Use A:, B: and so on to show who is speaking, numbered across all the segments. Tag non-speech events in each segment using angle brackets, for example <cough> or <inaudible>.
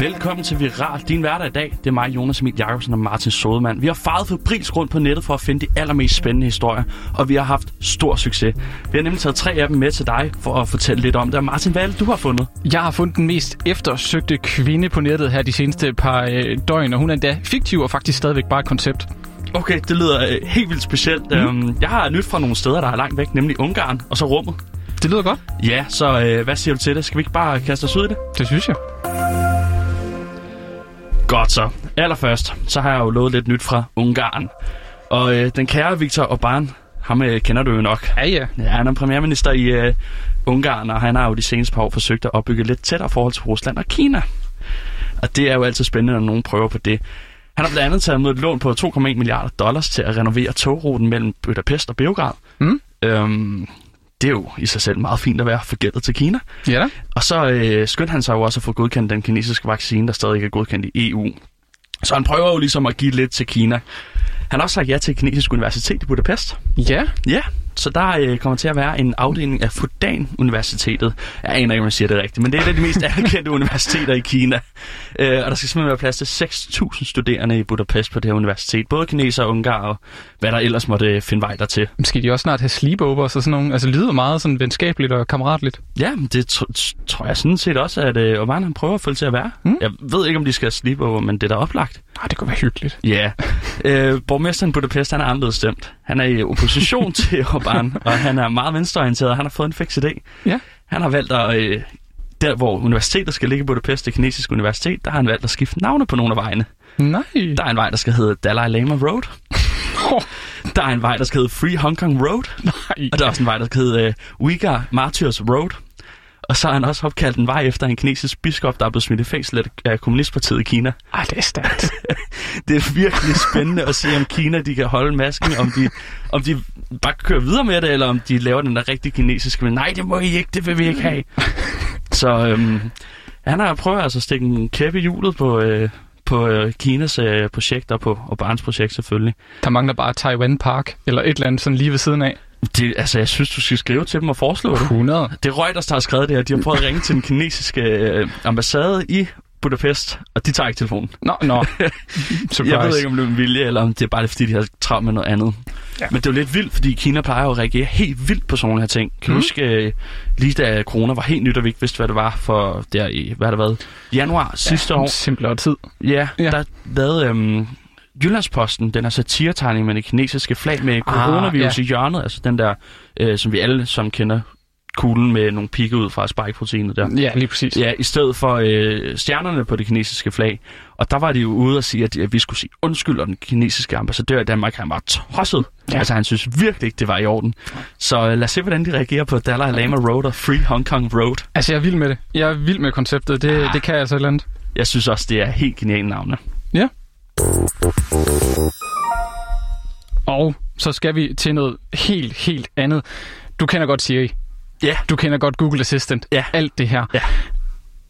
A: Velkommen til Viral, din hverdag i dag. Det er mig, Jonas Emil Jacobsen og Martin Sodemann. Vi har faret febrils rundt på nettet for at finde de allermest spændende historier, og vi har haft stor succes. Vi har nemlig taget tre af dem med til dig for at fortælle lidt om det. Og Martin, hvad er det, du har fundet?
B: Jeg har fundet den mest eftersøgte kvinde på nettet her de seneste par øh, døgn, og hun er endda fiktiv og faktisk stadigvæk bare et koncept.
A: Okay, det lyder øh, helt vildt specielt. Mm. Øhm, jeg har nyt fra nogle steder, der er langt væk, nemlig Ungarn og så rummet.
B: Det lyder godt.
A: Ja, så øh, hvad siger du til det? Skal vi ikke bare kaste os ud i det?
B: Det synes jeg.
A: Godt så. Allerførst, så har jeg jo lovet lidt nyt fra Ungarn. Og øh, den kære Viktor Orbán, ham øh, kender du jo nok.
B: Ja, ja.
A: Ja, han er premierminister i øh, Ungarn, og han har jo de seneste par år forsøgt at opbygge lidt tættere forhold til Rusland og Kina. Og det er jo altid spændende, når nogen prøver på det. Han har blandt andet taget imod et lån på 2,1 milliarder dollars til at renovere togruten mellem Budapest og Beograd.
B: Mm.
A: Øhm, det er jo i sig selv meget fint at være forgældet til Kina.
B: Ja da.
A: Og så øh, skyndte han sig jo også at få godkendt den kinesiske vaccine, der stadig ikke er godkendt i EU. Så han prøver jo ligesom at give lidt til Kina. Han har også sagt ja til et kinesisk universitet i Budapest.
B: Ja.
A: Ja, så der øh, kommer til at være en afdeling af Fudan Universitetet. Jeg aner ikke, om jeg siger det rigtigt, men det er et af de mest <laughs> anerkendte universiteter i Kina. Øh, og der skal simpelthen være plads til 6.000 studerende i Budapest på det her universitet. Både kineser og ungarer og hvad der ellers måtte øh, finde vej dertil.
B: Men Skal de også snart have sleepovers og sådan nogle? Altså, det lyder meget sådan venskabeligt og kammeratligt.
A: Ja, men det tr- tr- tror jeg sådan set også, at øh, Oman han prøver at følge til at være. Mm.
B: Mm.
A: Jeg ved ikke, om de skal slippe over, men det er da oplagt.
B: Ah, det kunne være hyggeligt.
A: Ja. Yeah. øh, borgmesteren i Budapest, han er anderledes stemt. Han er i opposition <laughs> til Orbán, og han er meget venstreorienteret, og han har fået en fix idé.
B: Ja.
A: Han har valgt at... Øh, der, hvor universitetet skal ligge i Budapest, det kinesiske universitet, der har han valgt at skifte navne på nogle af vejene.
B: Nej.
A: Der er en vej, der skal hedde Dalai Lama Road. Der er en vej, der skal hedde Free Hong Kong Road.
B: <laughs> Nej.
A: Og der er også en vej, der hedder øh, Uyghur Martyrs Road. Og så har han også opkaldt en vej efter en kinesisk biskop, der er blevet smidt i fængsel af- af Kommunistpartiet i Kina.
B: Ej, det er stærkt.
A: Det er virkelig spændende at se, om Kina de kan holde masken, om de, om de bare kører videre med det, eller om de laver den der rigtig kinesiske, men nej, det må I ikke, det vil vi ikke have. Så øhm, han har prøvet altså at stikke en kæppe i hjulet på, øh, på øh, Kinas øh, projekt og på og Barnes projekt selvfølgelig.
B: Der mangler bare Taiwan Park, eller et eller andet sådan lige ved siden af.
A: Det, altså, jeg synes, du skal skrive til dem og foreslå det.
B: 100.
A: Det er Reuters, der har skrevet det her. De har prøvet at ringe til den kinesiske øh, ambassade i Budapest, og de tager ikke telefonen.
B: Nå, <laughs> nå. Surprise.
A: Jeg ved ikke, om det er en vilje, eller om det er bare fordi, de har travlt med noget andet. Ja.
B: Ja.
A: Men det er jo lidt vildt, fordi Kina plejer jo at reagere helt vildt på sådan nogle her ting. Kan mm. du
B: Mhm.
A: huske, øh, lige da corona var helt nyt, og vi ikke vidste, hvad det var for der i, hvad har det været, januar sidste
B: En
A: år,
B: simplere tid.
A: ja,
B: Ja.
A: der lavede øhm, Jyllandsposten, den her satiretegning med det kinesiske flag med coronavirus
B: Ah, ja.
A: i hjørnet, altså den der, øh, som vi alle som kender, kuglen med nogle pigge ud fra spike-proteinet der.
B: Ja, lige præcis.
A: Ja, i stedet for øh, stjernerne på det kinesiske flag. Og der var de jo ude og sige, at, at vi skulle sige undskyld, og den kinesiske ambassadør i Danmark, han var tosset. Ja.
B: Ja.
A: Altså, han synes virkelig ikke, det var i orden. Så øh, lad os se, hvordan de reagerer på Dalai Lama Road og Free Hong Kong Road.
B: Altså, jeg er vild med det. Jeg er vild med konceptet. Det, det kan altså et eller andet.
A: Jeg synes også, det er helt geniale navne.
B: Ja. Og så skal vi til noget helt, helt andet. Du kender godt Siri.
A: Ja.
B: Du kender godt Google Assistant.
A: Ja.
B: Alt det her.
A: Ja.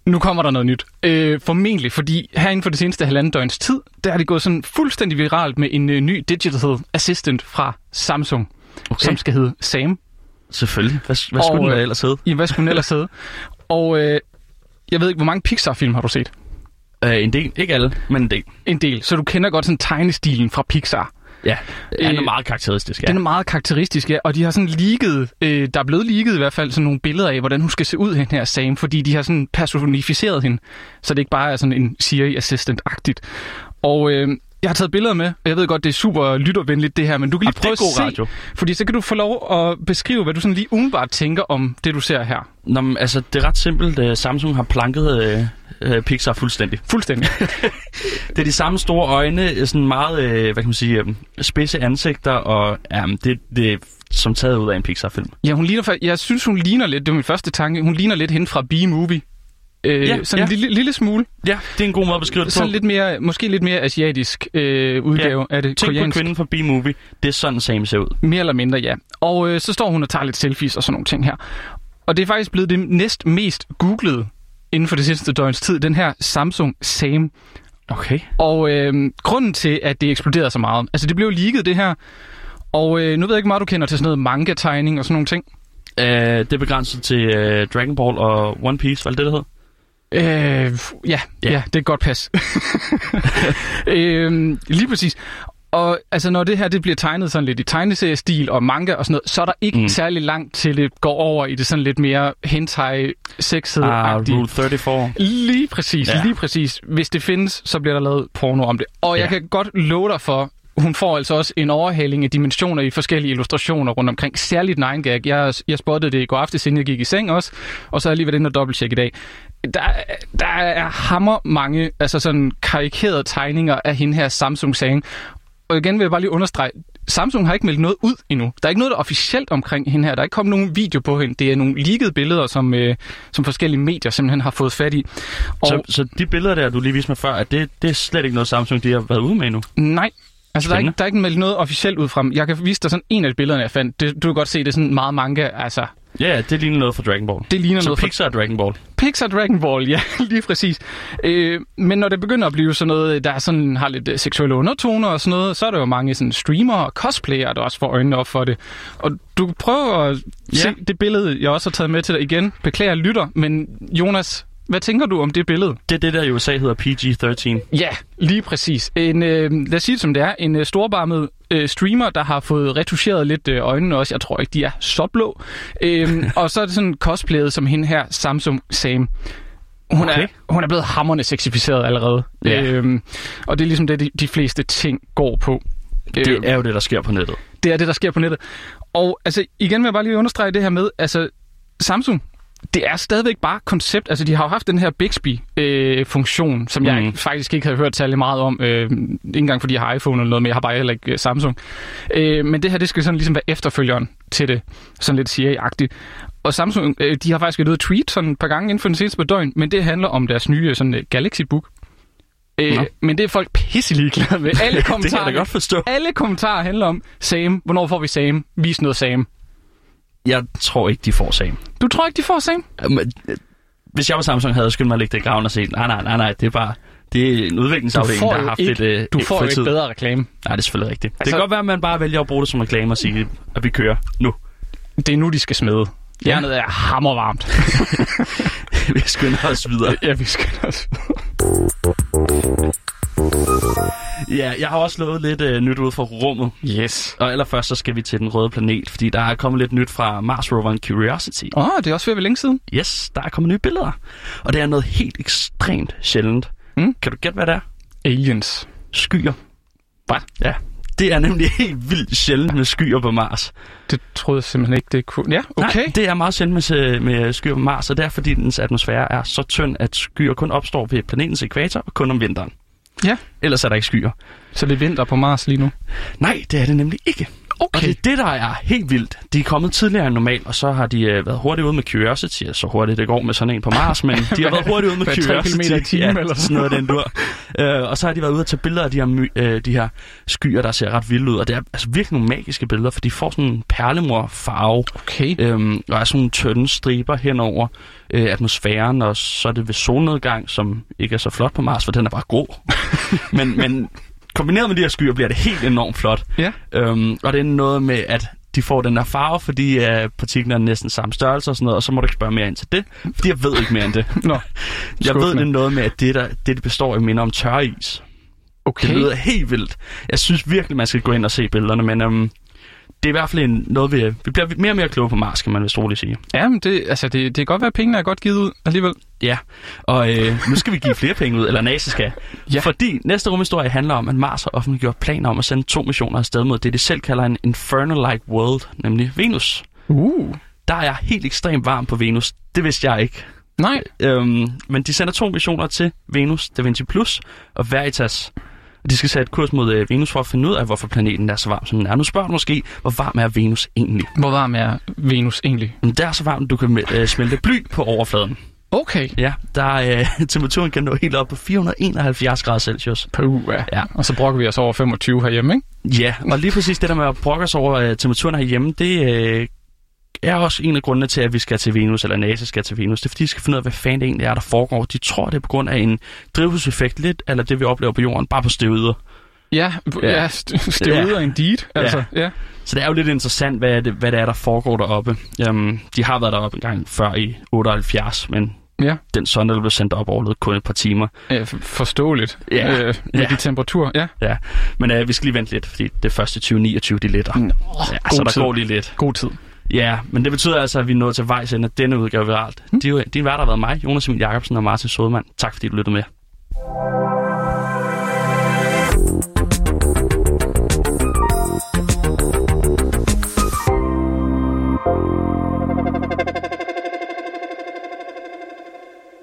B: Nu kommer der noget nyt. Øh, formentlig, fordi her inden for det seneste halvanden døgns tid, der er det gået sådan fuldstændig viralt med en øh, ny digital assistant fra Samsung,
A: Okay.
B: som skal hedde Sam.
A: Selvfølgelig. Hvad, hvad
B: Og,
A: skulle den da
B: øh,
A: ellers hedde?
B: I hvad skulle den ellers hedde? Og øh, jeg ved ikke, hvor mange Pixar-film har du set?
A: Øh, en del. Ikke alle, men en del.
B: En del. Så du kender godt sådan tegnestilen fra Pixar.
A: Ja, øh, han er
B: Øh,
A: meget karakteristisk. Ja.
B: Den er meget karakteristisk, ja. Og de har sådan ligget, øh, der er blevet ligget i hvert fald sådan nogle billeder af, hvordan hun skal se ud, den her Sam, fordi de har sådan personificeret hende, så det ikke bare er sådan en Siri Assistant-agtigt. Og øh, jeg har taget billeder med, og jeg ved godt, det er super lyttervenligt det her, men du kan
A: Jamen,
B: lige prøve
A: det er
B: at se,
A: god radio.
B: fordi så kan du få lov at beskrive, hvad du sådan lige umiddelbart tænker om det, du ser her.
A: Nå, men, altså, det er ret simpelt. Øh, Samsung har planket øh, øh, Pixar fuldstændig.
B: Fuldstændig.
A: Det er de samme store øjne, øh, sådan meget, øh, hvad kan man sige, øh, spidse ansigter, og ja, men det, det er som taget ud af en Pixar-film.
B: <laughs> Ja, hun ligner, fa- jeg synes, hun ligner lidt, det var min første tanke, hun ligner lidt hende fra B-Movie. Øh,
A: Ja,
B: ja, sådan en
A: ja.
B: lille, lille smule,
A: Ja, det er en god måde at beskrive det på.
B: sådan lidt mere, måske lidt mere asiatisk øh, udgave ja. af det
A: Tænk
B: koreanske.
A: på kvinden fra B-Movie. Det er sådan, Sam ser ud.
B: Mere eller mindre, ja. Og øh, så står hun og tager lidt selfies og sådan nogle ting her. Og det er faktisk blevet det næst mest googlede inden for det sidste døgns tid, den her Samsung Sam.
A: Okay.
B: Og øh, grunden til, at det eksploderede så meget, altså det blev leaget det her, og øh, nu ved jeg ikke, hvor meget du kender til sådan noget manga-tegning og sådan nogle ting.
A: Øh, det er begrænset til øh, Dragon Ball og One Piece, var det det, det hed?
B: Øh, f- ja,
A: Ja.
B: ja, ja, det er et godt pas. <laughs> øh, lige præcis. Og altså, når det her det bliver tegnet sådan lidt i tegneseriestil og manga og sådan noget, så er der ikke
A: Mm.
B: mm. særlig langt til det går over i det sådan lidt mere hentai sexet
A: Ah, Rule 34.
B: Lige præcis,
A: Ja.
B: ja. lige præcis. Hvis det findes, så bliver der lavet porno om det. Og jeg
A: Ja.
B: kan godt love dig for, hun får altså også en overhaling af dimensioner i forskellige illustrationer rundt omkring. Særligt 9 gag. Jeg, jeg spottede det i går aftes, inden jeg gik i seng også. Og så har jeg lige været inde og dobbelttjekke i dag. Der, der er hammer mange altså sådan karikerede tegninger af hende her Samsung-sagen. Og igen vil jeg bare lige understrege, Samsung har ikke meldt noget ud endnu. Der er ikke noget der er officielt omkring hende her. Der er ikke kommet nogen video på hende. Det er nogle leakede billeder, som, øh, som forskellige medier simpelthen har fået fat i. Og
A: Så, så de billeder der, du lige viste mig før, at det, det er slet ikke noget Samsung, de har været ude med endnu.
B: nej, altså der er,
A: Spændende.
B: ikke, der er ikke meldt noget officielt ud fra dem. Jeg kan vise dig sådan en af de billederne, jeg fandt. Det, du kan godt se, det er sådan meget manga. Altså,
A: Ja, yeah, det ligner noget fra Dragon Ball.
B: det ligner
A: Så
B: noget fra
A: Pixar og Dragon Ball.
B: Pixar Dragon Ball, ja, <laughs> lige præcis. Øh, men når det begynder at blive sådan noget, der sådan har lidt øh, seksuelle undertoner og sådan noget, så er der jo mange sådan streamere og cosplayere, der også får øjnene op for det. Og du prøver at
A: Ja.
B: se det billede, jeg også har taget med til dig igen. Beklager jeg lytter, men Jonas, hvad tænker du om det billede?
A: Det er det, der i USA hedder PG-13.
B: Ja, lige præcis. En, øh, lad os sige det som det er, en øh, storbarmet øh, streamer, der har fået retuscheret lidt øh, øjnene også. Jeg tror ikke, de er så blå.
A: <laughs>
B: Øh, og så er det sådan cosplayet som hende her, Samsung Sam. Hun, okay.
A: Okay.
B: er, hun er blevet hammerne sexificeret allerede.
A: Ja.
B: Øhm, og det er ligesom det, de, de fleste ting går på. Øhm,
A: Det er jo <laughs> det, der sker på nettet.
B: det er det, der sker på nettet. Og altså, igen vil jeg bare lige understrege det her med, altså Samsung, det er stadigvæk bare koncept. Altså, de har jo haft den her Bixby-funktion, som mm. jeg
A: Mhm.
B: faktisk ikke havde hørt særlig meget om. Øh, ikke engang fordi jeg har iPhone eller noget, men jeg har bare heller ikke øh, Samsung. Øh, men det her, det skal sådan ligesom være efterfølgeren til det, sådan lidt CIA-agtigt. Og Samsung, øh, de har faktisk været ude at tweet sådan et par gange inden for den seneste par døgn, men det handler om deres nye sådan, øh, Galaxy Book. Øh,
A: Nå.
B: men det er folk pisselig glade
A: <laughs>
B: med. Alle
A: det kan
B: kommentarer
A: jeg da godt forstå.
B: alle kommentarer handler om Sam. Hvornår får vi Sam? Vis noget Sam.
A: Jeg tror ikke, de får sagen.
B: Du tror ikke, de får Sam?
A: Men, øh, Hvis jeg var Samsung, havde jeg skyndt mig at lægge det i graven og se, nej, nej, nej, nej, det er bare... Det er en udviklingsafdeling,
B: Du får
A: der har
B: jo
A: haft
B: ikke-
A: et øh,
B: Du
A: et
B: får jo ikke
A: fritid.
B: bedre reklame.
A: Nej, det er selvfølgelig rigtigt. Altså, det
B: Altså-
A: kan godt være, at man bare vælger at bruge det som reklame og sige, at vi kører
B: <laughs>
A: nu.
B: Det er nu, de skal smede.
A: Ja.
B: Jernet er hammervarmt.
A: vi skynder os videre.
B: <laughs> ja, vi skal også.
A: Øh, Ja, jeg har også lovet lidt øh, nyt ud fra rummet.
B: Yes.
A: Og allerførst så skal vi til den røde planet, fordi der er kommet lidt nyt fra Mars roveren Curiosity.
B: Åh, oh, det er også ved at være længe siden.
A: Yes, der er kommet nye billeder. Og det er noget helt ekstremt sjældent.
B: Mm.
A: Kan du gætte, hvad det er?
B: Aliens.
A: Skyer.
B: Hvad?
A: Ja. Det er nemlig <laughs> helt vildt sjældent med skyer på Mars.
B: Det troede jeg simpelthen ikke, det kunne. Ja, okay.
A: Nej, det er meget sjældent med, med skyer på Mars, og det er fordi dens atmosfære er så tynd, at skyer kun opstår ved planetens ekvator og kun om vinteren.
B: Ja.
A: Ellers er der ikke skyer.
B: Så det er vinter på Mars lige nu.
A: Nej, det er det nemlig ikke. Og det
B: Okay.
A: er det, der er helt vildt. De er kommet tidligere end normalt, og så har de øh, været hurtigt ude med Curiosity. Så hurtigt det går med sådan en på Mars, men de
B: <laughs>
A: har været hurtigt ude med
B: Hvad, tre
A: Curiosity.
B: kilometer i
A: <laughs>
B: timen eller
A: sådan noget af den dur. Øh, og så har de været ude og tage billeder af de her, my, øh, de her skyer, der ser ret vilde ud. Og det er altså virkelig nogle magiske billeder, for de får sådan en perlemorfarve.
B: Okay.
A: Øhm, og er sådan nogle tynde striber hen over øh, atmosfæren, og så er det ved solnedgang, som ikke er så flot på Mars, for den er bare grå. <laughs> men, men kombineret med de her skyer bliver det helt enormt flot.
B: Ja.
A: Øhm, og det er noget med, at de får den der farve, fordi øh, partiklerne er næsten samme størrelse og sådan noget, og så må du ikke spørge mere ind til det, fordi jeg ved ikke mere end det.
B: Nå,
A: Jeg ved, det
B: Skuffende.
A: er noget med, at det, der, det, det består af, minder om tørris.
B: okay.
A: Det lyder helt vildt. Jeg synes virkelig, man skal gå ind og se billederne, men øhm, det er i hvert fald en, noget, vi, vi bliver mere og mere kloge på Mars, kan man vist roligt sige.
B: Ja, men det, altså, det, det kan godt være, at pengene er godt givet ud alligevel.
A: Ja, og øh, nu skal vi give flere penge ud, eller NASA skal. Ja.
B: Ja.
A: Fordi næste rumhistorie handler om, at Mars har offentliggjort planer om at sende to missioner afsted mod det, de selv kalder en infernal-like world, nemlig Venus.
B: Uh.
A: Der er helt ekstremt varm på Venus. Det vidste jeg ikke.
B: Nej.
A: Øhm, men de sender to missioner til Venus, Da Vinci Plus og Veritas. Og De skal sætte kurs mod øh, Venus for at finde ud af, hvorfor planeten er så varm, som den er. Nu spørger du måske, hvor varm er Venus egentlig?
B: Hvor varm er Venus egentlig?
A: Men det er så varmt, at du kan øh, smelte bly på overfladen.
B: Okay.
A: Ja, der øh, <laughs> temperaturen kan nå helt op på 471 grader Celsius.
B: Peru, ja.
A: Ja.
B: ja. Og så brokker vi os over 25 herhjemme, ikke?
A: Ja, og lige præcis det der med at brokke sig over øh, temperaturen herhjemme, det øh, er også en af grundene til, at vi skal til Venus, eller NASA skal til Venus. Det er, fordi de skal finde ud af, hvad fanden det egentlig er, der foregår. De tror, det er på grund af en drivhuseffekt lidt, eller det, vi oplever på jorden, bare på steroider.
B: Ja,
A: Ja.
B: ja. ja st- steroider ja. indeed. Altså, ja. ja.
A: Så det er jo lidt interessant, hvad det, hvad det er, der foregår deroppe. Um, de har været deroppe en gang før i 78, men
B: Ja,
A: den sonde, der blev sendt op, overlevede kun et par timer.
B: øh, f- forståeligt.
A: Ja.
B: Øh, med
A: Ja.
B: de temperaturer, ja.
A: Ja. Men uh, vi skal lige vente lidt, fordi det første 2029, de letter.
B: Mm.
A: Ja, så
B: god
A: der
B: tid.
A: går lige lidt.
B: God tid.
A: Ja, men det betyder altså, at vi er nået til vejs ende af denne udgave af alt. Mm. Din vært har været mig, Jonas Emil Jacobsen og Martin Sodemann. Tak fordi du lyttede med.